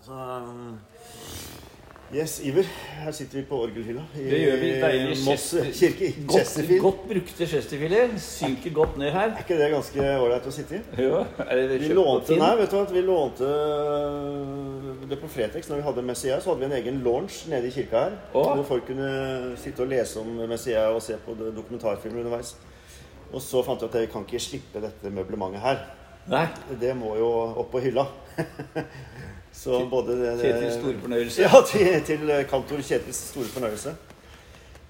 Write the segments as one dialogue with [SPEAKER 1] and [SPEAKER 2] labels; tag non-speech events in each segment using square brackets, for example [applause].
[SPEAKER 1] Så um, Yes, Iver. Her sitter vi på orgelhylla i
[SPEAKER 2] Det gjør vi. Deilig
[SPEAKER 1] Moss
[SPEAKER 2] Chester-
[SPEAKER 1] kirke. i
[SPEAKER 2] Godt,
[SPEAKER 1] Chesterfield.
[SPEAKER 2] godt brukte chesterfielder. Synker godt ned her.
[SPEAKER 1] Er ikke det ganske ålreit å sitte i?
[SPEAKER 2] Jo, er det
[SPEAKER 1] Vi
[SPEAKER 2] kjøpt på
[SPEAKER 1] lånte,
[SPEAKER 2] Finn?
[SPEAKER 1] nei, vet du hva, vi lånte øh, det på Fretex. Når vi hadde Messiah, så hadde vi en egen launch nede i kirka her.
[SPEAKER 2] Å.
[SPEAKER 1] Hvor folk kunne sitte og lese om Messiah og se på det- dokumentarfilmer underveis. Og så fant vi at vi kan ikke slippe dette møblementet her.
[SPEAKER 2] Nei.
[SPEAKER 1] Det må jo opp på hylla. [laughs] så både det, det
[SPEAKER 2] Kjetils store fornøyelse.
[SPEAKER 1] Ja, [laughs] til, til kantor Kjetils store fornøyelse.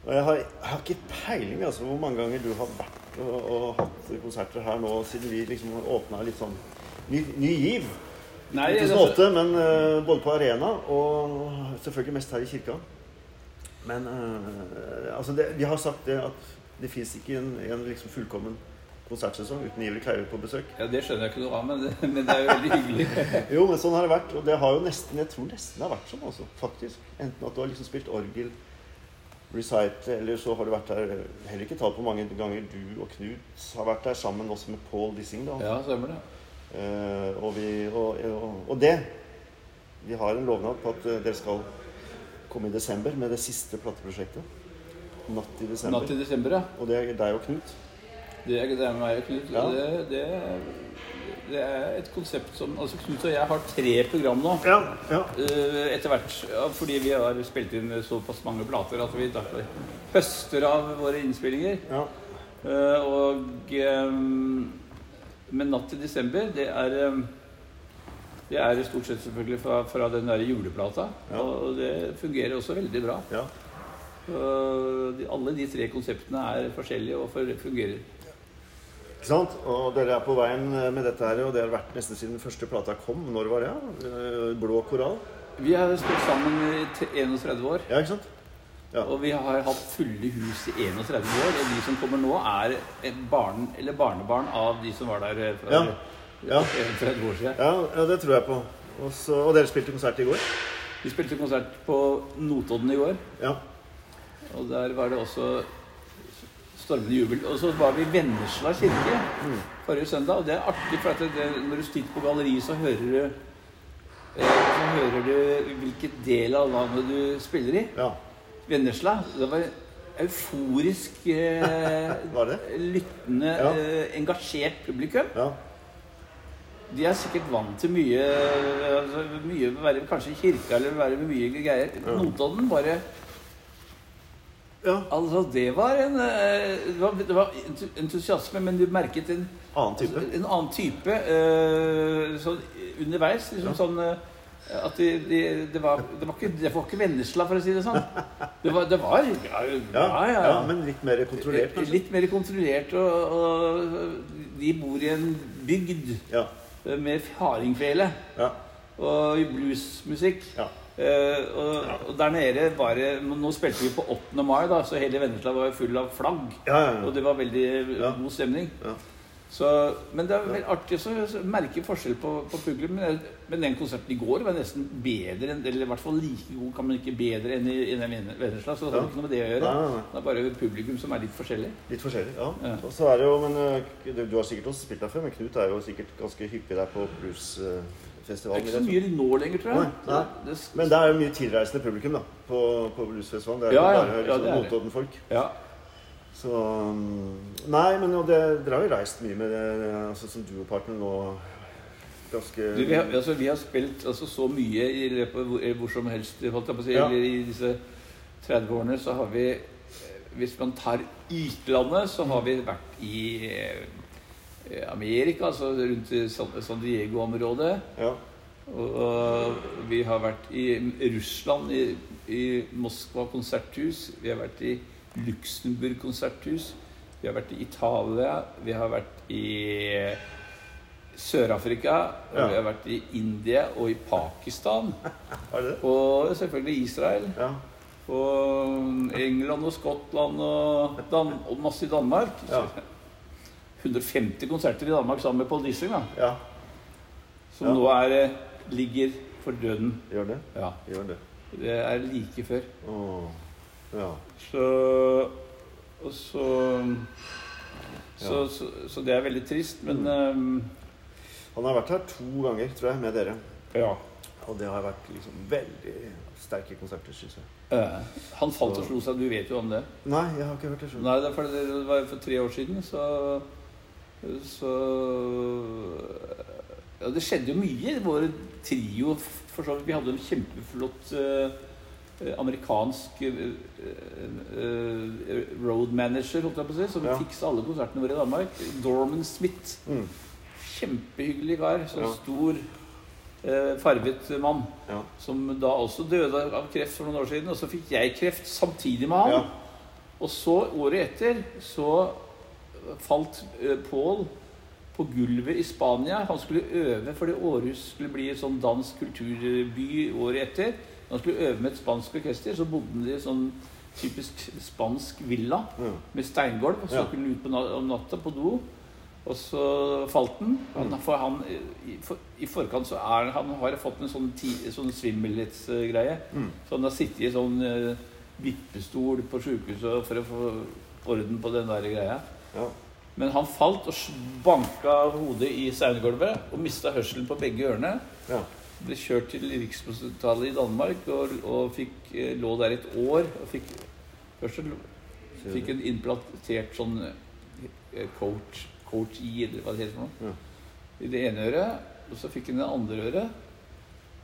[SPEAKER 1] Og jeg har, jeg har ikke peiling altså, hvor mange ganger du har vært og, og hatt konserter her nå siden vi liksom åpna litt sånn ny, ny giv.
[SPEAKER 2] Nei, altså,
[SPEAKER 1] 2008,
[SPEAKER 2] det-
[SPEAKER 1] men eh, både på arena og selvfølgelig mest her i kirka. Men eh, altså det, de har sagt det at det fins ikke en, en liksom fullkommen konsertsesong uten Iver Kleive på besøk.
[SPEAKER 2] ja, det skjønner jeg ikke noe av, men det, men det er jo veldig
[SPEAKER 1] [laughs]
[SPEAKER 2] hyggelig.
[SPEAKER 1] Jo, men sånn har det vært. Og det har jo nesten, jeg tror nesten det har vært sånn, altså, faktisk. Enten at du har liksom spilt orgel, recite, eller så har du vært der Heller ikke tall på mange ganger du og Knut har vært der sammen også med Paul Dissing, da.
[SPEAKER 2] Ja, stemmer det.
[SPEAKER 1] Eh, og, vi, og, og, og det Vi har en lovnad på at eh, dere skal komme i desember med det siste plateprosjektet. Natt i desember.
[SPEAKER 2] Natt i desember, ja.
[SPEAKER 1] Og det er deg og Knut.
[SPEAKER 2] Det er, det er meg og Knut.
[SPEAKER 1] Ja.
[SPEAKER 2] og Det, det, det er et konsept som Altså, Knut og jeg har tre program nå.
[SPEAKER 1] Ja, ja.
[SPEAKER 2] eh, Etter hvert. ja, Fordi vi har spilt inn såpass mange plater at vi derfor høster av våre innspillinger.
[SPEAKER 1] ja.
[SPEAKER 2] Eh, Og eh, Men 'Natt til desember', det er eh, Det er stort sett selvfølgelig fra, fra den der juleplata.
[SPEAKER 1] Ja.
[SPEAKER 2] Og det fungerer også veldig bra.
[SPEAKER 1] ja.
[SPEAKER 2] Og de, alle de tre konseptene er forskjellige og for- fungerer.
[SPEAKER 1] Ikke sant? Og dere er på veien eh, med dette her, og det har vært nesten siden første plata kom. Når var det? ja? Eh, Blå koral?
[SPEAKER 2] Vi har stått sammen i t- 31 år,
[SPEAKER 1] Ja, ikke sant? Ja.
[SPEAKER 2] og vi har hatt fulle hus i 31 år. Og de som kommer nå, er et barn, eller barnebarn av de som var der eh, for
[SPEAKER 1] Ja. Ja.
[SPEAKER 2] 31 år siden.
[SPEAKER 1] Ja, ja, det tror jeg på. Og, så, og dere spilte konsert i går?
[SPEAKER 2] Vi spilte konsert på Notodden i går,
[SPEAKER 1] Ja.
[SPEAKER 2] og der var det også stormende jubel. Og så var vi i Vennesla kirke
[SPEAKER 1] Mm.
[SPEAKER 2] forrige søndag, og det er artig, for at det, det, når du sitter på galleriet, så hører du eh, så hører du hvilken del av landet du spiller i.
[SPEAKER 1] ja.
[SPEAKER 2] Vennesla. Det var euforisk eh,
[SPEAKER 1] [laughs] Var det?
[SPEAKER 2] lyttende,
[SPEAKER 1] Ja.
[SPEAKER 2] eh, engasjert publikum.
[SPEAKER 1] ja.
[SPEAKER 2] De er sikkert vant til mye, eh, altså, mye være kanskje i kirka eller være med mye greier. Notodden bare
[SPEAKER 1] ja.
[SPEAKER 2] Altså, det var en eh, Det var, det var entu- entusiasme, men du merket en, altså,
[SPEAKER 1] Annen type?
[SPEAKER 2] en annen type eh, sånn underveis. Liksom sånn eh, at de, de, det, var, det, var ikke, det var ikke Vennesla, for å si det sånn. Det var, det var ja,
[SPEAKER 1] Ja, ja, men litt mer kontrollert, kanskje?
[SPEAKER 2] Litt mer kontrollert, og, og de bor i en bygd
[SPEAKER 1] Ja.
[SPEAKER 2] med hardingfele
[SPEAKER 1] Ja.
[SPEAKER 2] og bluesmusikk.
[SPEAKER 1] ja.
[SPEAKER 2] Eh, og, og der nede var det men Nå spilte vi på 8. mai, da, så hele Vennesla var jo full av flagg.
[SPEAKER 1] Ja, ja, ja.
[SPEAKER 2] Og det var veldig
[SPEAKER 1] Ja.
[SPEAKER 2] god stemning.
[SPEAKER 1] Ja.
[SPEAKER 2] Så, men det er veldig artig å så merke forskjell på, på publikum. Men, men den konserten i går var nesten bedre, enn- eller i hvert fall like god, kan man ikke bedre enn i, i den Ven- Vennesla. Så det har
[SPEAKER 1] Ja.
[SPEAKER 2] ikke noe med det å gjøre.
[SPEAKER 1] Nei, nei, nei.
[SPEAKER 2] Det er bare publikum som er litt forskjellig.
[SPEAKER 1] Litt forskjellig, ja.
[SPEAKER 2] Ja.
[SPEAKER 1] Og så er det jo, men eh, Du du har sikkert også spilt der før, men Knut er jo sikkert ganske hyppig der på eh,
[SPEAKER 2] Det er
[SPEAKER 1] bluesfestivalen.
[SPEAKER 2] ikke så
[SPEAKER 1] vil jeg tro.
[SPEAKER 2] mye nå lenger, tror jeg.
[SPEAKER 1] Nei, nei.
[SPEAKER 2] Det, det,
[SPEAKER 1] Men det er jo mye tilreisende publikum da, på, på bluesfestivalen. Det er
[SPEAKER 2] Ja,
[SPEAKER 1] jo
[SPEAKER 2] ja.
[SPEAKER 1] bare
[SPEAKER 2] Ja, det
[SPEAKER 1] liksom,
[SPEAKER 2] er det.
[SPEAKER 1] Notodden-folk.
[SPEAKER 2] ja.
[SPEAKER 1] Så um, Nei, men og det, dere har jo reist mye med det, altså, som duopartner nå ganske
[SPEAKER 2] Du, vi, har, altså, vi har spilt altså, så mye i løpet av hvor, eller hvor som helst, holdt jeg på å si.
[SPEAKER 1] Ja.
[SPEAKER 2] Eller i disse 30 årene så har vi eh, Hvis man tar utlandet, så har vi vært i eh, eh, Amerika, altså rundt i San San Diego-området.
[SPEAKER 1] Ja.
[SPEAKER 2] Og, og vi har vært i Russland, i, i Moskva konserthus. Vi har vært i Luxembourg konserthus. Vi har vært i Italia. Vi har vært i Sør-Afrika. Og
[SPEAKER 1] Ja.
[SPEAKER 2] vi har vært i India og i Pakistan.
[SPEAKER 1] Er det det?
[SPEAKER 2] Og selvfølgelig Israel.
[SPEAKER 1] Ja.
[SPEAKER 2] Og England og Skottland og, Dan og masse i Danmark.
[SPEAKER 1] Ja.
[SPEAKER 2] 150 konserter i Danmark sammen med Paul Dissing, da,
[SPEAKER 1] ja.
[SPEAKER 2] som
[SPEAKER 1] Ja.
[SPEAKER 2] nå er, eh, ligger for døden.
[SPEAKER 1] Gjør det.
[SPEAKER 2] Ja.
[SPEAKER 1] Gjør det.
[SPEAKER 2] Det er like før.
[SPEAKER 1] Åh. Ja.
[SPEAKER 2] Så Og så så, så, så det er veldig trist, men ehm,
[SPEAKER 1] Han har vært her to ganger, tror jeg, med dere.
[SPEAKER 2] Ja.
[SPEAKER 1] Og det har vært liksom veldig sterke konserter, syns jeg.
[SPEAKER 2] Eh, han falt og slo seg, du vet jo om det.
[SPEAKER 1] Nei, jeg har ikke hørt det sjøl.
[SPEAKER 2] Nei, det er fordi det var for tre år siden, så Så Ja, det skjedde jo mye. Vår trio for så vidt, Vi hadde en kjempeflott eh, eh, amerikansk eh, eh, eh, road manager, holdt jeg på å si, som
[SPEAKER 1] Ja.
[SPEAKER 2] fiksa alle konsertene våre i Danmark. Dorman Smith.
[SPEAKER 1] Mm.
[SPEAKER 2] Kjempehyggelig kar. Sånn
[SPEAKER 1] Ja.
[SPEAKER 2] stor, eh, farvet mann.
[SPEAKER 1] Ja.
[SPEAKER 2] Som da også døde av kreft for noen år siden. Og så fikk jeg kreft samtidig med han.
[SPEAKER 1] Ja.
[SPEAKER 2] Og så, året etter, så falt eh, Pål på gulvet i Spania. Han skulle øve fordi Århus skulle bli en sånn dansk kulturby året etter. Han skulle øve med et spansk orkester, så bodde han i en sånn typisk spansk villa
[SPEAKER 1] Ja.
[SPEAKER 2] med steingolv. Og så
[SPEAKER 1] Ja.
[SPEAKER 2] skulle han ut på na- om natta på do, og så falt han. Han- For han eh, i, for, I forkant så er han har fått en sånn, ti, sånn svimmelhetsgreie.
[SPEAKER 1] Mm.
[SPEAKER 2] Så han har sittet i sånn eh, vippestol på sjukehuset for å få orden på den der greia.
[SPEAKER 1] ja.
[SPEAKER 2] Men han falt og s- banka hodet i saunegulvet og mista hørselen på begge ørene.
[SPEAKER 1] ja.
[SPEAKER 2] Ble kjørt til Rikshospitalet i Danmark og, og fikk, eh, lå der et år. og fikk hørsel.
[SPEAKER 1] Ser
[SPEAKER 2] Fikk
[SPEAKER 1] du.
[SPEAKER 2] en implantert sånn eh, coach, coach I, eller hva det heter for noe.
[SPEAKER 1] Ja.
[SPEAKER 2] I det ene øret. Og så fikk han det andre øret.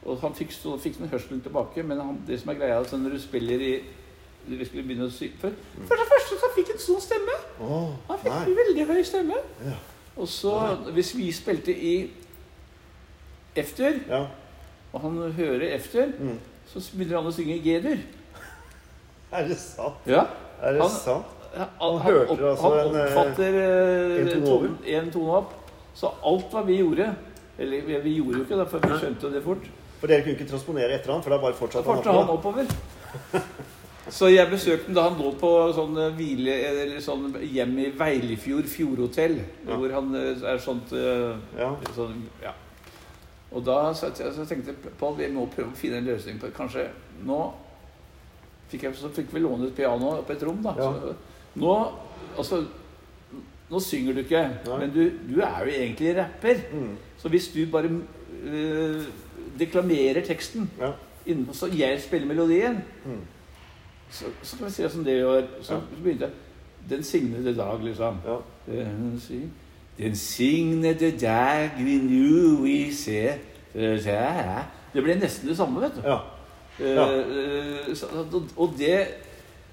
[SPEAKER 2] Og han fikk, så fikk han hørselen tilbake, men han, det som er greia, er at når du spiller i du skulle begynne å sy for, for det første så fikk han sånn stemme.
[SPEAKER 1] Åh,
[SPEAKER 2] Han fikk
[SPEAKER 1] Mm. nei.
[SPEAKER 2] en veldig høy stemme.
[SPEAKER 1] Ja.
[SPEAKER 2] Og så, hvis vi spilte i F-dur,
[SPEAKER 1] Ja.
[SPEAKER 2] og han hører F-dur,
[SPEAKER 1] Mm.
[SPEAKER 2] så begynner han å synge G-dur.
[SPEAKER 1] Er det sant?
[SPEAKER 2] Ja.
[SPEAKER 1] Er det
[SPEAKER 2] Han-
[SPEAKER 1] sant?
[SPEAKER 2] Han,
[SPEAKER 1] hørte
[SPEAKER 2] opp-
[SPEAKER 1] altså
[SPEAKER 2] han
[SPEAKER 1] en, eh,
[SPEAKER 2] oppfatter eh,
[SPEAKER 1] en tone
[SPEAKER 2] ton-
[SPEAKER 1] over.
[SPEAKER 2] en tone opp. Så alt hva vi gjorde Eller vi- vi gjorde jo ikke det, for vi skjønte jo det fort.
[SPEAKER 1] For dere kunne ikke transponere etter han, for det er bare
[SPEAKER 2] Da
[SPEAKER 1] fortsatt han
[SPEAKER 2] farta
[SPEAKER 1] har
[SPEAKER 2] han
[SPEAKER 1] på det.
[SPEAKER 2] oppover. Så jeg besøkte ham da han lå på sånn eh, hvile eller sånn hjem i Veilefjord fjordhotell.
[SPEAKER 1] Ja.
[SPEAKER 2] Hvor han eh, er sånt eh,
[SPEAKER 1] Ja.
[SPEAKER 2] sånn, ja. Og da så, så tenkte jeg Pål, vi må prøve å finne en løsning på det. Kanskje nå fikk, jeg, så fikk vi låne et piano på et rom, da.
[SPEAKER 1] Ja.
[SPEAKER 2] Så, nå Altså Nå synger du ikke,
[SPEAKER 1] Nei.
[SPEAKER 2] men du, du er jo egentlig rapper.
[SPEAKER 1] Mm.
[SPEAKER 2] Så hvis du bare øh, deklamerer teksten
[SPEAKER 1] Ja.
[SPEAKER 2] innenfor Så jeg spiller melodien,
[SPEAKER 1] Mm.
[SPEAKER 2] så, så kan vi si det som det gjør. Så,
[SPEAKER 1] Ja.
[SPEAKER 2] så begynte jeg Den signede dag, liksom.
[SPEAKER 1] Ja.
[SPEAKER 2] Den sig- Den signede dag vi nu vi Eh, ser Det ble nesten det samme, vet du.
[SPEAKER 1] ja.
[SPEAKER 2] Eh, eh, så, og- og det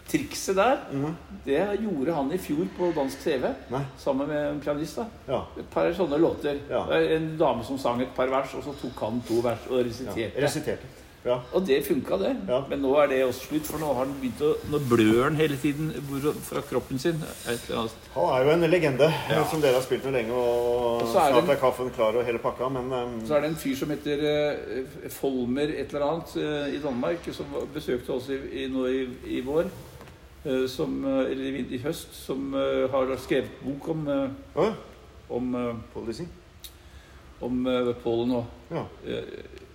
[SPEAKER 2] trikset der,
[SPEAKER 1] Mhm.
[SPEAKER 2] det gjorde han i fjor på dansk TV.
[SPEAKER 1] Nei.
[SPEAKER 2] Sammen med en pianist. da.
[SPEAKER 1] Ja.
[SPEAKER 2] Et par sånne låter.
[SPEAKER 1] Ja.
[SPEAKER 2] Det er En dame som sang et par vers, og så tok han to vers og
[SPEAKER 1] ja.
[SPEAKER 2] resiterte.
[SPEAKER 1] Resiterte. Ja.
[SPEAKER 2] Og det funka, det.
[SPEAKER 1] Ja.
[SPEAKER 2] Men nå er det også slutt, for nå har han begynt å Nå blør han hele tiden hvor- fra kroppen sin. Et eller annet.
[SPEAKER 1] Han er jo en legende
[SPEAKER 2] Ja.
[SPEAKER 1] som dere har spilt med lenge, og,
[SPEAKER 2] Og så er
[SPEAKER 1] snart
[SPEAKER 2] det-
[SPEAKER 1] er kaffen klar og hele pakka, men um,
[SPEAKER 2] Så er det en fyr som heter eh, Folmer et eller annet eh, i Danmark, som var- besøkte oss i, i, nå i, i vår. eh, Som, eh, eller i, vin- i høst, som eh, har skrevet bok om, eh,
[SPEAKER 1] Å,
[SPEAKER 2] om, eh,
[SPEAKER 1] policy.
[SPEAKER 2] om eh, Paul nå.
[SPEAKER 1] Ja.
[SPEAKER 2] Eh,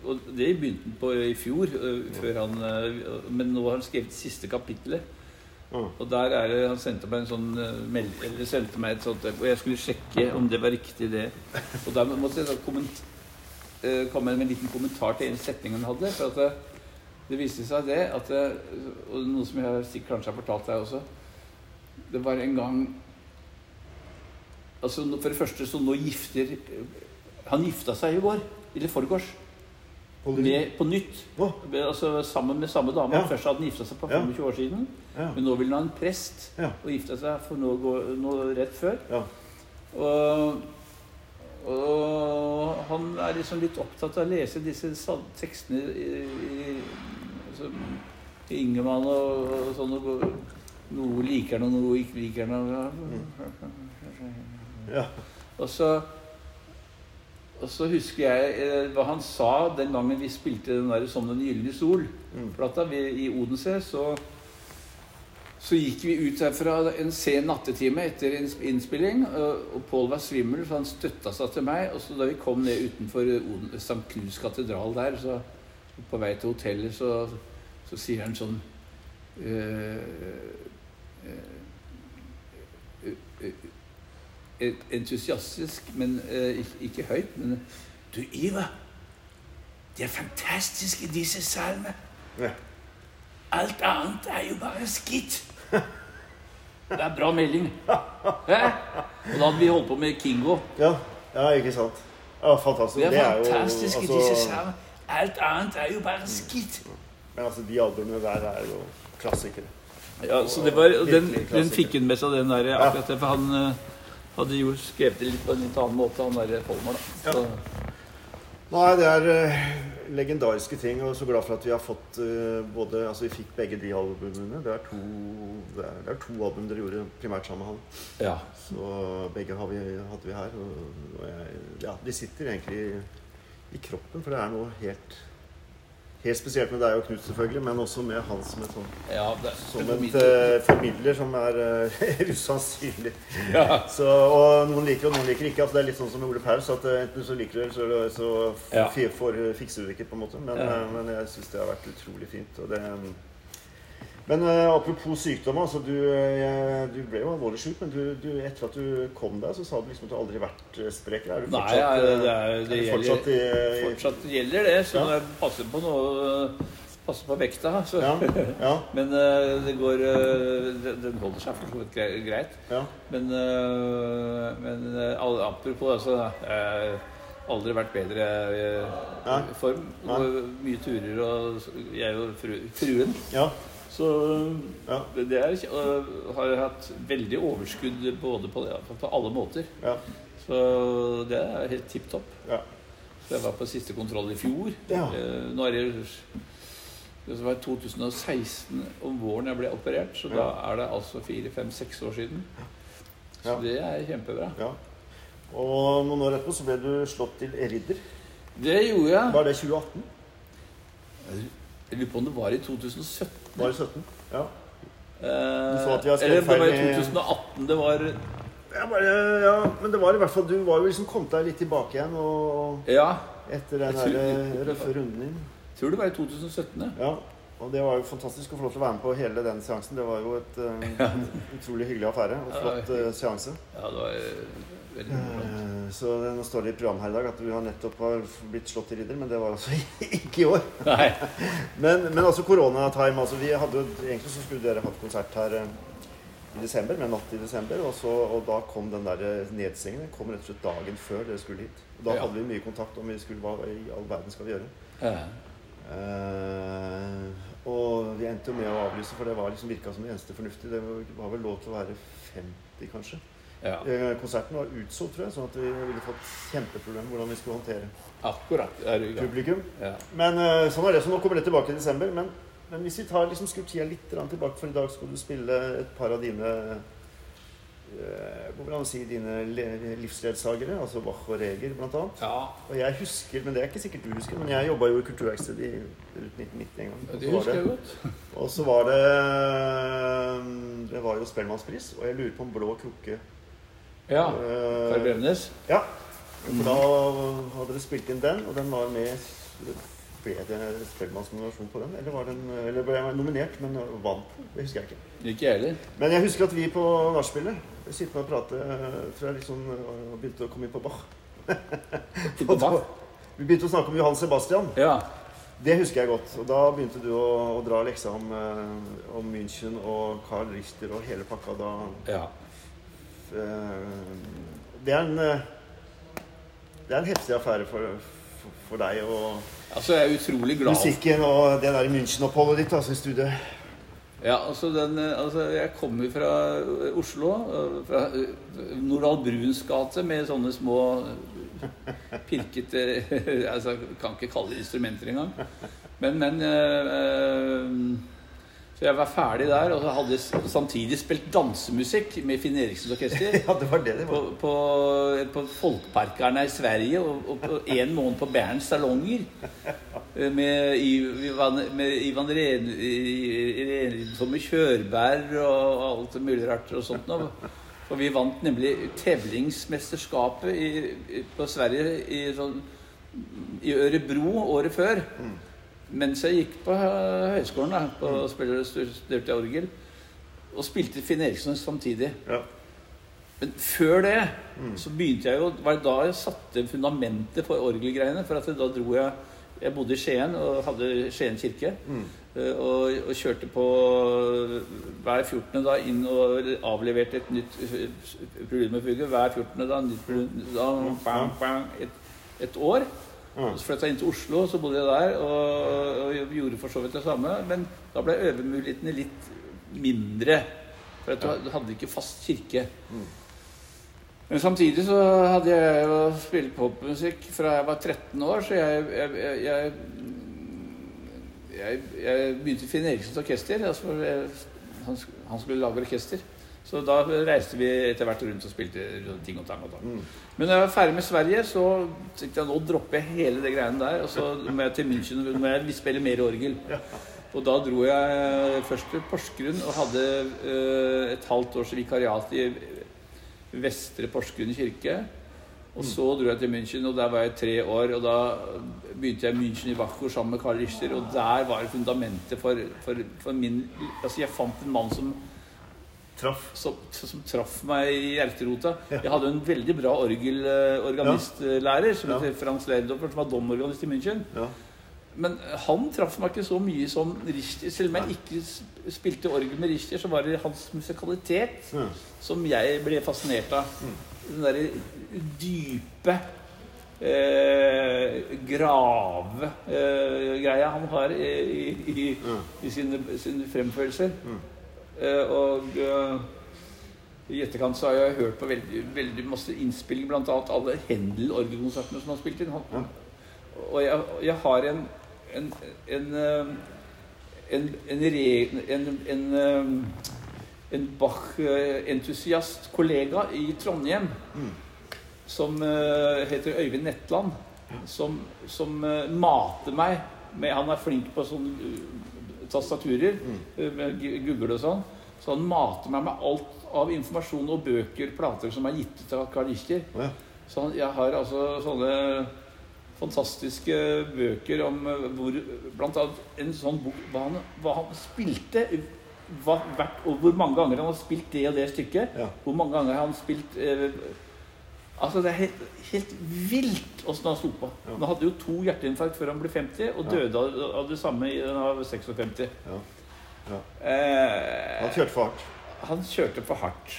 [SPEAKER 2] Og det begynte han på i fjor, eh, før han, eh, men nå har han skrevet siste kapittelet.
[SPEAKER 1] Ja.
[SPEAKER 2] Og der er det, han sendte meg en sånn eh, meld, eller sendte meg et sånt, eh, og jeg skulle sjekke om det var riktig det. Og der måtte jeg da komment, eh, komme med en liten kommentar til en setning han hadde, for at det, det viste seg det, at det, og noe som jeg sikkert kanskje har fortalt deg også, det var en gang, altså nå- for det første så nå gifter, han gifta seg i går, eller forgårs,
[SPEAKER 1] Policy.
[SPEAKER 2] med, på nytt,
[SPEAKER 1] Å,
[SPEAKER 2] altså sammen med samme dame,
[SPEAKER 1] Ja.
[SPEAKER 2] først hadde han gifta seg på
[SPEAKER 1] Ja.
[SPEAKER 2] 25 år siden,
[SPEAKER 1] ja.
[SPEAKER 2] men nå vil han ha en prest
[SPEAKER 1] Ja.
[SPEAKER 2] og gifte seg for nå, går, nå rett før.
[SPEAKER 1] Ja.
[SPEAKER 2] Og, og han er liksom litt opptatt av å lese disse sal- tekstene i, i, som Ingemann og, og sånn og gå- Noe liker han, og noe ikke liker han. og-
[SPEAKER 1] ja.
[SPEAKER 2] Og så og så husker jeg eh, hva han sa den gangen vi spilte den der 'Som den gylne sol'
[SPEAKER 1] Mm.
[SPEAKER 2] plata vi, i Odense, så, så gikk vi ut herfra en sen nattetime etter inns- innspilling. Og, og Pål var svimmel, så han støtta seg til meg. Og så da vi kom ned utenfor Oden- St. Knuds katedral der, så på vei til hotellet, så, så sier han sånn eh, eh, eh, eh, Entusiastisk, men eh, ikke, ikke høyt. Men du, Iva, Det fantastiske i disse salmer
[SPEAKER 1] Ja.
[SPEAKER 2] Alt annet er jo bare skitt. [laughs] Det er bra melding. Hæ? Og da hadde vi holdt på med Kingo.
[SPEAKER 1] Ja, ja ikke sant. Ja, fantastisk.
[SPEAKER 2] Det er
[SPEAKER 1] jo,
[SPEAKER 2] fantastisk i disse
[SPEAKER 1] altså-
[SPEAKER 2] salmer. Alt annet er jo bare skitt.
[SPEAKER 1] Men altså, de albumene der er jo klassikere.
[SPEAKER 2] Ja, så det var, og den,
[SPEAKER 1] Virkelig klassiker.
[SPEAKER 2] den fikk han med seg, den der, akkurat det, for han eh, hadde jo skrevet det litt på en litt annen måte, han der Folmer, da. Så,
[SPEAKER 1] Nei, det er eh, legendariske ting, og så glad for at vi har fått eh, både Altså, vi fikk begge de albumene. Det er to, det er, det er to album dere gjorde primært sammen med han.
[SPEAKER 2] ja.
[SPEAKER 1] Så begge har vi, hadde vi her. Og, og jeg, ja, de sitter egentlig i, i kroppen, for det er noe helt Helt spesielt med deg og Knut, selvfølgelig, men også med han som et sånn
[SPEAKER 2] ja det, sånn
[SPEAKER 1] Som
[SPEAKER 2] det-
[SPEAKER 1] et eh, formidler som er uh, [laughs] usannsynlig.
[SPEAKER 2] [laughs] ja.
[SPEAKER 1] Så, og noen liker og noen liker ikke. Altså, det er litt sånn som med Ole Paus. At eh, enten så liker du eller så, så f-
[SPEAKER 2] Ja.
[SPEAKER 1] fi- får, eh, fikser du det ikke, på en måte. Men,
[SPEAKER 2] Ja.
[SPEAKER 1] eh, men jeg syns det har vært utrolig fint. Og det, mm. men eh, apropos sykdom. Altså, du, eh, du ble jo alvorlig syk, men du, du, etter at du kom deg, så sa du liksom at du aldri har vært eh, sprek. Er du
[SPEAKER 2] Nei,
[SPEAKER 1] fortsatt,
[SPEAKER 2] ja, det, det,
[SPEAKER 1] eh,
[SPEAKER 2] er,
[SPEAKER 1] er du
[SPEAKER 2] det gjelder,
[SPEAKER 1] fortsatt i, i
[SPEAKER 2] fortsatt gjelder det, så
[SPEAKER 1] Ja.
[SPEAKER 2] jeg passer på noe, passer på vekta. Så.
[SPEAKER 1] ja, ja,
[SPEAKER 2] Men eh, det går eh, den- Den holder seg for så vidt gre- greit.
[SPEAKER 1] ja.
[SPEAKER 2] Men, eh, men eh, al- apropos altså, eh, Aldri vært bedre eh,
[SPEAKER 1] Nei.
[SPEAKER 2] i form.
[SPEAKER 1] Nei.
[SPEAKER 2] Og Mye turer og s- jeg og fru, fruen.
[SPEAKER 1] ja,
[SPEAKER 2] Så
[SPEAKER 1] ja,
[SPEAKER 2] det er, ikke- og har hatt veldig overskudd både på, ja, på alle måter.
[SPEAKER 1] ja,
[SPEAKER 2] Så det er helt tipp topp.
[SPEAKER 1] ja.
[SPEAKER 2] Så jeg var på siste kontroll i fjor.
[SPEAKER 1] Ja.
[SPEAKER 2] Eh, Nå er det det var 2016 om våren jeg ble operert, så da er det altså fire, fem, seks år siden. Så
[SPEAKER 1] Ja.
[SPEAKER 2] det er kjempebra.
[SPEAKER 1] ja. Og noen år etterpå så ble du slått til ridder.
[SPEAKER 2] Det gjorde jeg.
[SPEAKER 1] Var det 2018?
[SPEAKER 2] Jeg lurer på om det var i 2017.
[SPEAKER 1] Var det 17? Ja.
[SPEAKER 2] Eh,
[SPEAKER 1] sa at vi har skrevet
[SPEAKER 2] eller om det var i
[SPEAKER 1] feil i-
[SPEAKER 2] 2018. Det var
[SPEAKER 1] Jeg bare, ja, men det var i hvert fall Du var jo liksom kommet deg litt tilbake igjen og
[SPEAKER 2] Ja,
[SPEAKER 1] etter den
[SPEAKER 2] Jeg tror-
[SPEAKER 1] der eh, røffe runden din.
[SPEAKER 2] jeg tror det var i 2017. ja.
[SPEAKER 1] Ja. Og det var jo fantastisk å få lov til å være med på hele den seansen. Det var jo et
[SPEAKER 2] [laughs]
[SPEAKER 1] eh, utrolig hyggelig affære og
[SPEAKER 2] Ja, det var
[SPEAKER 1] flott eh, seanse.
[SPEAKER 2] Ja, det var eh, veldig morsomt. [laughs]
[SPEAKER 1] Eh, Så det, nå står det i programmet her i dag at du har nettopp har blitt slått til ridder, men det var altså [laughs] ikke i år.
[SPEAKER 2] Nei.
[SPEAKER 1] Men, men altså koronatime, altså vi hadde jo, egentlig så skulle dere hatt konsert her eh, i desember, med natt i desember, og, så, og da kom den der eh, nedstengingen, den kom rett og slett dagen før dere skulle hit. Og da
[SPEAKER 2] Ja.
[SPEAKER 1] hadde vi mye kontakt om vi skulle, hva i all verden skal vi gjøre.
[SPEAKER 2] Ja.
[SPEAKER 1] Eh, og vi endte jo med å avlyse, for det var liksom virka som det eneste fornuftige. Det var vel lov til å være 50, kanskje.
[SPEAKER 2] ja.
[SPEAKER 1] Eh, Konserten var utsolgt, tror jeg, sånn at vi ville fått kjempeproblemer med hvordan vi skulle håndtere
[SPEAKER 2] Akkurat. Er du i gang?
[SPEAKER 1] publikum.
[SPEAKER 2] Ja.
[SPEAKER 1] Men eh, sånn er det, så nå kommer det tilbake i desember. Men, men hvis vi tar liksom skrur tida litt grann tilbake, for i dag skal du spille et par av dine eh, Hvor vil man si dine le- livsledsagere, altså Bach og Reger blant annet.
[SPEAKER 2] ja.
[SPEAKER 1] Og jeg husker, men det er ikke sikkert du husker, men jeg jobba jo i Kulturverkstedet i rundt 1990 en gang. Og så
[SPEAKER 2] Det
[SPEAKER 1] var
[SPEAKER 2] husker
[SPEAKER 1] det-
[SPEAKER 2] jeg godt.
[SPEAKER 1] Og så var det eh, Det var jo Spellemannspris, og jeg lurer på om Blå krukke
[SPEAKER 2] Ja.
[SPEAKER 1] eh,
[SPEAKER 2] Kari Bremnes. Mm.
[SPEAKER 1] ja. For da hadde dere spilt inn den, og den var med Ble det Spellemannsnominasjon på den? Eller, var den, eller ble jeg nominert, men vant? Det husker jeg ikke.
[SPEAKER 2] Ikke jeg
[SPEAKER 1] [laughs]
[SPEAKER 2] heller.
[SPEAKER 1] Men jeg husker at vi på nachspielet sittende og prate, eh, tror jeg liksom eh, begynte å komme inn på Bach.
[SPEAKER 2] Tipper Bach.
[SPEAKER 1] Vi begynte å snakke om Johan Sebastian.
[SPEAKER 2] Ja.
[SPEAKER 1] Det husker jeg godt. Og da begynte du å, å dra leksa om, eh, om München og Carl Richter og hele pakka. Da
[SPEAKER 2] ja.
[SPEAKER 1] Eh, Det er en eh, Det er en heftig affære for, for, for deg og
[SPEAKER 2] Altså, jeg er utrolig glad.
[SPEAKER 1] musikken og det der München-oppholdet ditt, altså, i studiet.
[SPEAKER 2] Ja, altså, den, eh, altså, jeg kommer fra eh, Oslo, eh, fra eh, Nordahl Bruns gate, med sånne små eh, pirkete [laughs] altså, jeg Kan ikke kalle det instrumenter engang. Men, men eh, eh, Så jeg var ferdig der, og så hadde jeg s- samtidig spilt dansemusikk med Finn Eriksens orkester.
[SPEAKER 1] [laughs] Ja, det var det det
[SPEAKER 2] På,
[SPEAKER 1] var.
[SPEAKER 2] på, på Folkparkerna i Sverige og, og på en måned på Berns salonger. eh, Med Ivan, med Ivan Ren- i- i- Renridsson med Kjørberg og alt mulig rart og sånt. nå. For vi vant nemlig tevlingsmesterskapet i, i, på Sverige i, sånn, i Ørebro året før.
[SPEAKER 1] Mm,
[SPEAKER 2] Mens jeg gikk på eh, høyskolen da, på, og spilte- studerte orgel. Og spilte Finn Eriksson samtidig.
[SPEAKER 1] Ja.
[SPEAKER 2] Men før det så begynte jeg jo Det var da jeg satte fundamentet for orgelgreiene. For at da dro jeg Jeg bodde i Skien og hadde Skien kirke.
[SPEAKER 1] Mm.
[SPEAKER 2] eh, Og, og kjørte på hver 14. da inn og avleverte et nytt eh, preludmefugl. Hver 14. da, nytt prelud- da bang, bang, et, et år.
[SPEAKER 1] Mm.
[SPEAKER 2] Så flytta jeg inn til Oslo, så bodde jeg der og, og gjorde for så vidt det samme. Men da ble øvemulighetene litt mindre. For at du, du hadde ikke fast kirke.
[SPEAKER 1] Mm.
[SPEAKER 2] Men samtidig så hadde jeg jo spilt popmusikk fra jeg var 13 år, så jeg jeg, jeg, jeg, jeg, jeg begynte i Finn Eriksens orkester. Altså, jeg, han, sk- han skulle lage orkester. Så da reiste vi etter hvert rundt og spilte ting og tang og tang.
[SPEAKER 1] Mm.
[SPEAKER 2] Men når jeg var ferdig med Sverige, så tenkte jeg nå dropper jeg hele det greiene der. Og så må jeg til München og må jeg spille mer orgel. Og da dro jeg først til Porsgrunn og hadde eh, et halvt års vikariat i Vestre Porsgrunn kirke. Og så dro jeg til München, og der var jeg i tre år. Og da begynte jeg i München i Wacho sammen med Karl Richter, og der var fundamentet for, for, for min Altså, jeg fant en mann som
[SPEAKER 1] Traff.
[SPEAKER 2] som, som traff meg i hjerterota. Jeg hadde en veldig bra orgelorganistlærer som
[SPEAKER 1] Ja.
[SPEAKER 2] heter Frans Lerdopper, som var domorganist i München.
[SPEAKER 1] Ja.
[SPEAKER 2] Men han traff meg ikke så mye som Richter. Selv om jeg ikke sp- spilte orgel med Richter, så var det hans musikalitet
[SPEAKER 1] Mm.
[SPEAKER 2] som jeg ble fascinert av. Den derre dype eh, grave eh, greia han har i, i, i,
[SPEAKER 1] Mm.
[SPEAKER 2] i sine, sine fremførelser.
[SPEAKER 1] Mm.
[SPEAKER 2] Eh, og eh, i etterkant så har jeg hørt på veldig, veldig masse innspilling, blant annet alle Händel-orgelkonsertene som han spilte inn. Han, Og jeg, jeg har en en, en, eh, en, en, re, en, en, eh, en Bach-entusiast-kollega i Trondheim
[SPEAKER 1] Mm.
[SPEAKER 2] som eh, heter Øyvind Netland, som, som eh, mater meg med Han er flink på sånne eh, tastaturer,
[SPEAKER 1] mm,
[SPEAKER 2] eh, med gu- Google og sånn. Så han mater meg med alt av informasjon og bøker, plater som er gitt ut av Karl Richter.
[SPEAKER 1] Ja.
[SPEAKER 2] Så han, jeg har altså sånne fantastiske bøker om eh, hvor Blant annet en sånn bok hva han, hva han spilte. Hva, hvert, og hvor mange ganger han har spilt det og det stykket.
[SPEAKER 1] Ja.
[SPEAKER 2] Hvor mange ganger har han spilt eh, Altså, det er helt, helt vilt åssen han sto på.
[SPEAKER 1] Ja.
[SPEAKER 2] Han hadde jo to hjerteinfarkt før han ble 50, og
[SPEAKER 1] Ja.
[SPEAKER 2] døde av, av det samme i- av 56.
[SPEAKER 1] Ja. Han
[SPEAKER 2] Eh,
[SPEAKER 1] kjørte for hardt.
[SPEAKER 2] han kjørte for hardt.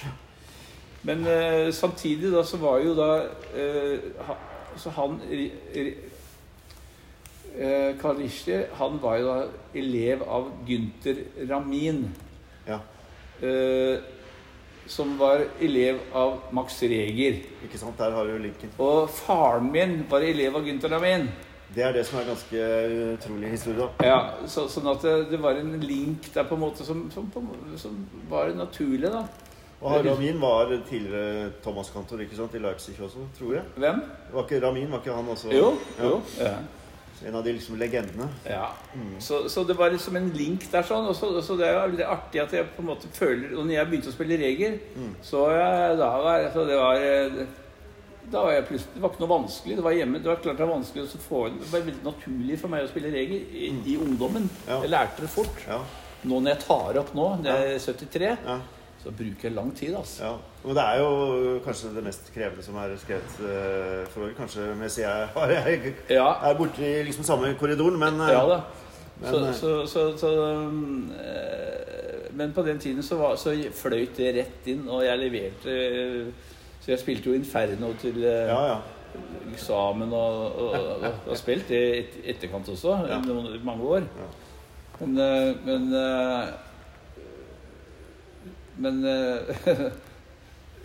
[SPEAKER 2] Men eh, samtidig da så var jo da eh, ha, Så han ri, ri, eh, Karl Richter, han var jo da elev av Gynter Ramin.
[SPEAKER 1] Ja.
[SPEAKER 2] Eh, som var elev av Max Reger.
[SPEAKER 1] Ikke sant? Der har du linken.
[SPEAKER 2] Og faren min var elev av Gynter Ramin.
[SPEAKER 1] Det er det som er ganske utrolig historie, da.
[SPEAKER 2] Ja, så, sånn at det, det var en link der på en måte som, som, på, som var naturlig, da.
[SPEAKER 1] Og han Ramin var tidligere Thomas-kantor ikke sant? i Leipzig også, tror jeg.
[SPEAKER 2] Hvem?
[SPEAKER 1] Var ikke Ramin var ikke han også
[SPEAKER 2] Jo.
[SPEAKER 1] Ja.
[SPEAKER 2] jo. Ja.
[SPEAKER 1] en av de liksom legendene?
[SPEAKER 2] Ja.
[SPEAKER 1] Mm.
[SPEAKER 2] Så, så det var liksom en link der sånn. Og så, og så det er jo litt artig at jeg på en måte føler Og når jeg begynte å spille reger,
[SPEAKER 1] Mm.
[SPEAKER 2] så jeg, da var så det var eh, da var jeg plutselig, Det var ikke noe vanskelig. Det var hjemme, det var klart det var vanskelig å få Det var veldig naturlig for meg å spille reger i, i ungdommen.
[SPEAKER 1] Mm. Ja.
[SPEAKER 2] Jeg lærte det fort.
[SPEAKER 1] Ja.
[SPEAKER 2] Nå når jeg tar opp nå, når jeg er 73,
[SPEAKER 1] ja.
[SPEAKER 2] så bruker jeg lang tid, altså.
[SPEAKER 1] Ja, Men det er jo kanskje det mest krevende som er skrevet eh, for året. Kanskje mens jeg, har- jeg
[SPEAKER 2] Ja.
[SPEAKER 1] er borte i liksom samme korridoren, men eh,
[SPEAKER 2] Ja da.
[SPEAKER 1] Men,
[SPEAKER 2] så,
[SPEAKER 1] eh,
[SPEAKER 2] så, så, så, um, eh, men på den tiden så, var, så fløyt det rett inn, og jeg leverte eh, Så jeg spilte jo Inferno til eh,
[SPEAKER 1] ja, ja.
[SPEAKER 2] eksamen og, og, og, og har spilt det i et, etterkant også,
[SPEAKER 1] Ja.
[SPEAKER 2] noen, mange år. Men eh, Men, eh, men eh,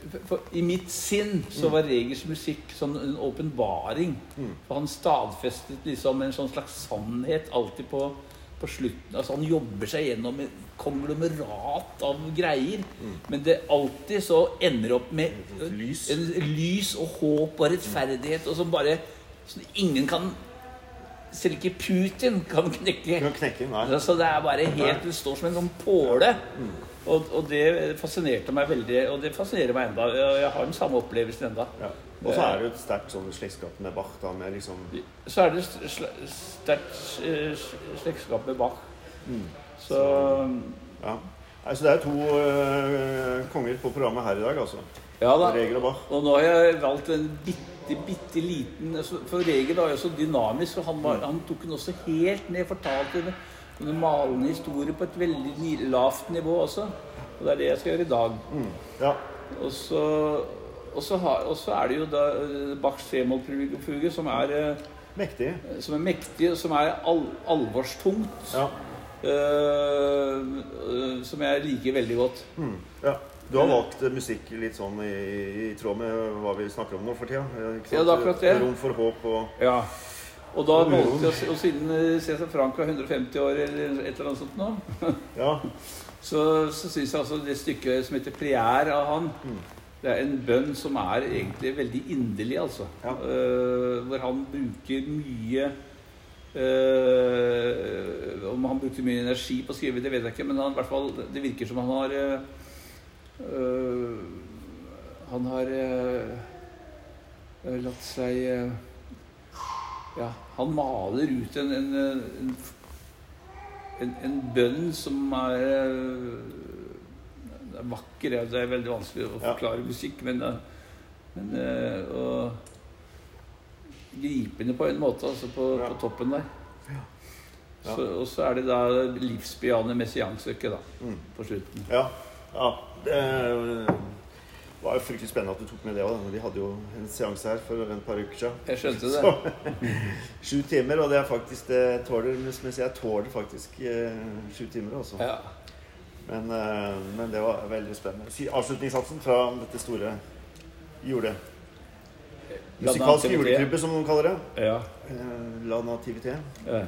[SPEAKER 2] [laughs] for, I mitt sinn så var Regers musikk sånn en åpenbaring.
[SPEAKER 1] Mm.
[SPEAKER 2] For han stadfestet liksom en sånn slags sannhet alltid på, på slutten. Altså han jobber seg gjennom et konglomerat av greier. Men det alltid så ender opp med
[SPEAKER 1] Mm. Et lys.
[SPEAKER 2] en lys og håp og rettferdighet, og som bare som ingen kan Selv ikke Putin kan knekke.
[SPEAKER 1] Du kan knekke den der.
[SPEAKER 2] Altså, det er bare helt Det står som en sånn påle. Og, og det fascinerte meg veldig, og det fascinerer meg enda. Og jeg har den samme opplevelsen enda.
[SPEAKER 1] Ja. Og så er det jo et sterkt sånn slektskap med Bach, da, med liksom
[SPEAKER 2] Så er det sl- sl- sterkt eh, sl- slektskap med Bach. Mm. Så
[SPEAKER 1] Ja. Nei, så det er to eh, konger på programmet her i dag, altså.
[SPEAKER 2] Ja da.
[SPEAKER 1] Reger og Bach.
[SPEAKER 2] Og nå har jeg valgt en bitte bitte, bitte liten altså, For Reger var jo så dynamisk, og han, var, han tok den også helt ned. Fortalte en- en malende historie på et veldig ni- lavt nivå også. Og det er det jeg skal gjøre i dag.
[SPEAKER 1] Mm. Ja.
[SPEAKER 2] Og så, og så, har, og så er det jo da eh, Bachs tremolfuge, som er eh,
[SPEAKER 1] Mektig.
[SPEAKER 2] som er mektig, og som er al alvorstungt.
[SPEAKER 1] Ja.
[SPEAKER 2] eh, eh, som jeg liker veldig godt.
[SPEAKER 1] Mm. ja. Du har valgt eh, musikk litt sånn i, i tråd med hva vi snakker om nå for tida. eh, ikke
[SPEAKER 2] Ja, det er akkurat det.
[SPEAKER 1] Rom for håp og
[SPEAKER 2] Ja. Og da
[SPEAKER 1] Og
[SPEAKER 2] valgte
[SPEAKER 1] uroen.
[SPEAKER 2] jeg, å si- og siden eh, Cæsar Frank var 150 år eller et eller annet sånt nå,
[SPEAKER 1] Ja.
[SPEAKER 2] så, så syns jeg altså det stykket som heter 'Priær' av han, det er en bønn som er egentlig veldig inderlig, altså.
[SPEAKER 1] Ja.
[SPEAKER 2] Eh, hvor han bruker mye eh, Om han brukte mye energi på å skrive, det vet jeg ikke, men han, i hvert fall, det virker som han har eh, eh, Han har eh, eh, latt seg eh, Ja, han maler ut en, en, eh, en en, en bønn som er eh, det er vakker. ja. Det er veldig vanskelig å
[SPEAKER 1] Ja.
[SPEAKER 2] forklare musikk, men, eh, men eh, og gripende på en måte, altså på,
[SPEAKER 1] Ja.
[SPEAKER 2] på toppen der.
[SPEAKER 1] Ja.
[SPEAKER 2] Så, og så er det da livsbejaende messianstykket, da,
[SPEAKER 1] Mm.
[SPEAKER 2] på slutten.
[SPEAKER 1] Ja. ja. Det eh, var jo fryktelig spennende at du tok med det òg. Vi hadde jo en seanse her for en par uker siden.
[SPEAKER 2] Jeg skjønte det.
[SPEAKER 1] Så, [laughs] sju timer, og det er faktisk det jeg tåler. Mens mens jeg tåler faktisk eh, sju timer, altså.
[SPEAKER 2] Ja.
[SPEAKER 1] Men, eh, men det var veldig spennende. Si- Avslutningssatsen fra dette store jule...
[SPEAKER 2] La
[SPEAKER 1] Musikalske
[SPEAKER 2] nativitet.
[SPEAKER 1] julekrybbe, som noen kaller det.
[SPEAKER 2] Ja.
[SPEAKER 1] Eh, La nativité.
[SPEAKER 2] ja.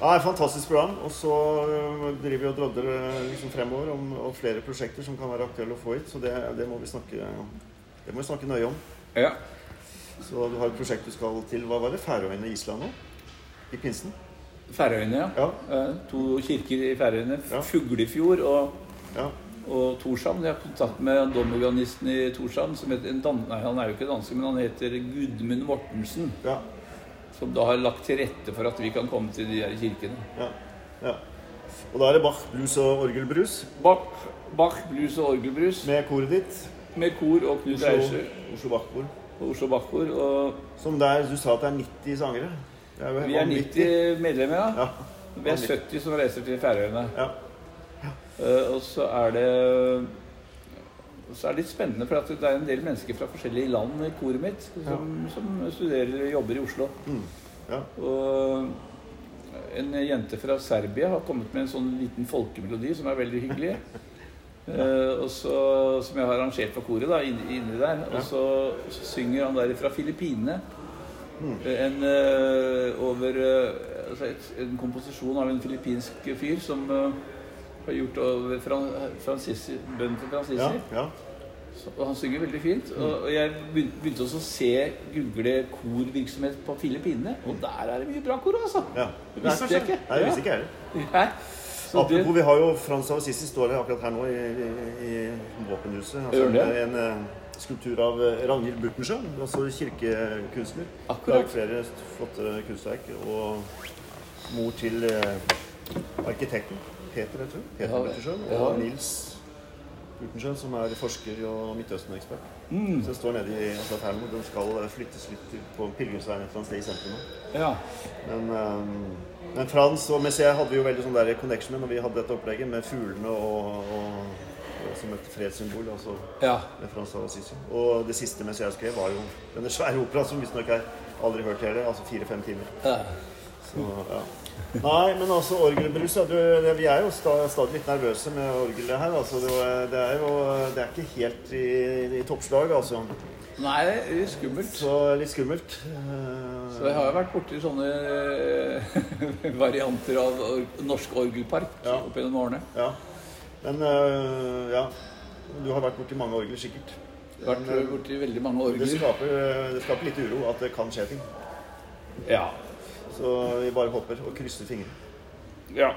[SPEAKER 1] Ja, det er et fantastisk program. Og så eh, driver vi og drodler eh, liksom fremover om om flere prosjekter som kan være aktuelle å få hit. Så det, det må vi snakke det må vi snakke nøye om.
[SPEAKER 2] ja.
[SPEAKER 1] Så du har et prosjekt du skal til. Hva var det? Færøyene og Island nå? I pinsen?
[SPEAKER 2] Færøyene, ja.
[SPEAKER 1] Ja.
[SPEAKER 2] Eh, To kirker i Færøyene.
[SPEAKER 1] Ja.
[SPEAKER 2] Fuglefjord og
[SPEAKER 1] ja.
[SPEAKER 2] og Torshamn. Jeg har kontakt med domorganisten i Torshamn. Som heter en dan Nei, han er jo ikke danske, men han heter Gudmund Mortensen.
[SPEAKER 1] Ja.
[SPEAKER 2] Som da har lagt til rette for at vi kan komme til de her kirkene.
[SPEAKER 1] Ja. ja. Og da er det Bach blues og orgelbrus
[SPEAKER 2] Bach, Bach blues og orgelbrus med,
[SPEAKER 1] med koret ditt.
[SPEAKER 2] kor og Knut
[SPEAKER 1] Oslo,
[SPEAKER 2] Reischer
[SPEAKER 1] Oslo Bach-kor.
[SPEAKER 2] og Oslo Bach-kor. Og
[SPEAKER 1] Som der du sa at det er 90 sangere. Det jo helt
[SPEAKER 2] vi er
[SPEAKER 1] vanvittig.
[SPEAKER 2] 90 medlemmer, ja.
[SPEAKER 1] Ja.
[SPEAKER 2] Vi er 70 som reiser til Færøyene.
[SPEAKER 1] ja.
[SPEAKER 2] Eh, Og så er det så er det litt spennende, for at det er en del mennesker fra forskjellige land i koret mitt som, som studerer og jobber i Oslo.
[SPEAKER 1] Mm. ja.
[SPEAKER 2] Og en jente fra Serbia har kommet med en sånn liten folkemelodi som er veldig hyggelig. Eh, og så, som jeg har arrangert for koret da, inni, inni der. Og så, så synger han der fra Filippinene eh, en, eh, over eh, altså et, en komposisjon av en filippinsk fyr som eh, har gjort over Fran, Fransisi, bønn til Fransisi.
[SPEAKER 1] ja. ja.
[SPEAKER 2] Så- Og han synger veldig fint. Og og jeg begy- begynte også å se google korvirksomhet på Filippinene, og der er det mye bra kor, altså.
[SPEAKER 1] ja.
[SPEAKER 2] Det visste jeg ikke.
[SPEAKER 1] Nei, det visste ikke jeg heller.
[SPEAKER 2] Hæ? Så det,
[SPEAKER 1] Apropos, vi har jo Frans av Assisi står her akkurat her nå i, i, i våpenhuset.
[SPEAKER 2] Gjør det?
[SPEAKER 1] en eh, skulptur av eh, Ragnhild Burtensjø, altså kirkekunstner.
[SPEAKER 2] Akkurat.
[SPEAKER 1] Laget flere flotte kunstverk. Og mor til eh, arkitekten Peter, jeg tror. Peter
[SPEAKER 2] Ja,
[SPEAKER 1] Burtensjø. Og
[SPEAKER 2] ja.
[SPEAKER 1] Nils Burtensjø, som er forsker og Midtøsten-ekspert.
[SPEAKER 2] Mm.
[SPEAKER 1] Så den står nede i akkurat her nå. Den skal eh, flyttes litt til- på pilegrimsveien et eller annet sted i sentrum. nå.
[SPEAKER 2] ja.
[SPEAKER 1] Men, ehm, men Frans og Messier hadde vi jo veldig sånn der connection med når vi hadde dette opplegget med fuglene og, og, og som et fredssymbol. altså
[SPEAKER 2] ja.
[SPEAKER 1] med Frans av Assisi. Og det siste Messier skrev, var jo denne svære operaen som visstnok er aldri hørt heller. Altså fire-fem timer.
[SPEAKER 2] ja.
[SPEAKER 1] Så, ja. Nei, men altså orgelbrus ja, du, det, Vi er jo sta, stadig litt nervøse med orgelet her. altså Det, var- det er jo det er ikke helt i, i toppslag, altså.
[SPEAKER 2] Nei, det er litt skummelt.
[SPEAKER 1] Så litt skummelt. Eh,
[SPEAKER 2] Så jeg har jo vært borti sånne eh, [laughs] varianter av or norsk orgelpark
[SPEAKER 1] Ja.
[SPEAKER 2] opp gjennom årene.
[SPEAKER 1] Ja. Men øh, ja. Du har vært borti mange orgler, sikkert.
[SPEAKER 2] Vært
[SPEAKER 1] Men, øh,
[SPEAKER 2] borti veldig mange
[SPEAKER 1] Det
[SPEAKER 2] orgler.
[SPEAKER 1] skaper, øh, det skaper litt uro at det kan skje ting.
[SPEAKER 2] Ja.
[SPEAKER 1] Så vi bare håper og krysser fingre.
[SPEAKER 2] ja.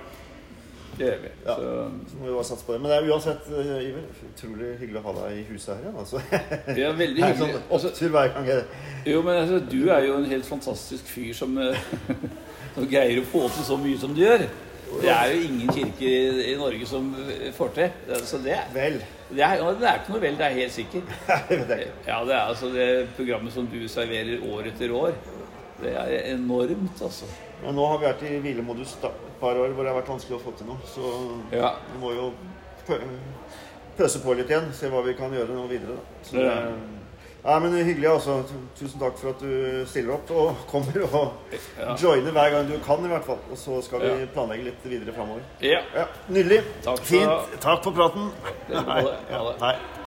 [SPEAKER 2] Det gjør vi.
[SPEAKER 1] Ja.
[SPEAKER 2] Så
[SPEAKER 1] Så må vi bare satse på det. Men det er uansett, øh, Iver, utrolig hyggelig å ha deg i huset her igjen. Altså. Det [laughs]
[SPEAKER 2] det er veldig
[SPEAKER 1] er
[SPEAKER 2] hyggelig.
[SPEAKER 1] sånn
[SPEAKER 2] Altså,
[SPEAKER 1] opptur hver gang. jeg-
[SPEAKER 2] Jo, men altså, [laughs] du er jo en helt fantastisk fyr som, eh, som greier å få til så mye som du gjør. Det er jo ingen kirke i, i Norge som eh, får til. Det- Så det,
[SPEAKER 1] [laughs] Vel.
[SPEAKER 2] det, er, ja, det er ikke noe vel, det er helt sikkert.
[SPEAKER 1] det er ikke-
[SPEAKER 2] Ja, det er altså det programmet som du serverer år etter år. Det er enormt, altså.
[SPEAKER 1] Men nå har vi vært i hvilemodus da- et par år hvor det har vært vanskelig å få til noe. Så
[SPEAKER 2] Ja.
[SPEAKER 1] vi må jo pø pøse på litt igjen. Se hva vi kan gjøre nå videre. Da. Så,
[SPEAKER 2] Ja.
[SPEAKER 1] det- Nei, men hyggelig, altså. Tusen takk for at du stiller opp og [laughs] kommer og
[SPEAKER 2] Ja.
[SPEAKER 1] joiner hver gang du kan, i hvert fall. Og så skal vi
[SPEAKER 2] Ja.
[SPEAKER 1] planlegge litt videre framover.
[SPEAKER 2] ja.
[SPEAKER 1] Ja, nydelig.
[SPEAKER 2] Takk skal du
[SPEAKER 1] Fint. Takk for praten.
[SPEAKER 2] Dere må det. Ha det.
[SPEAKER 1] Hei.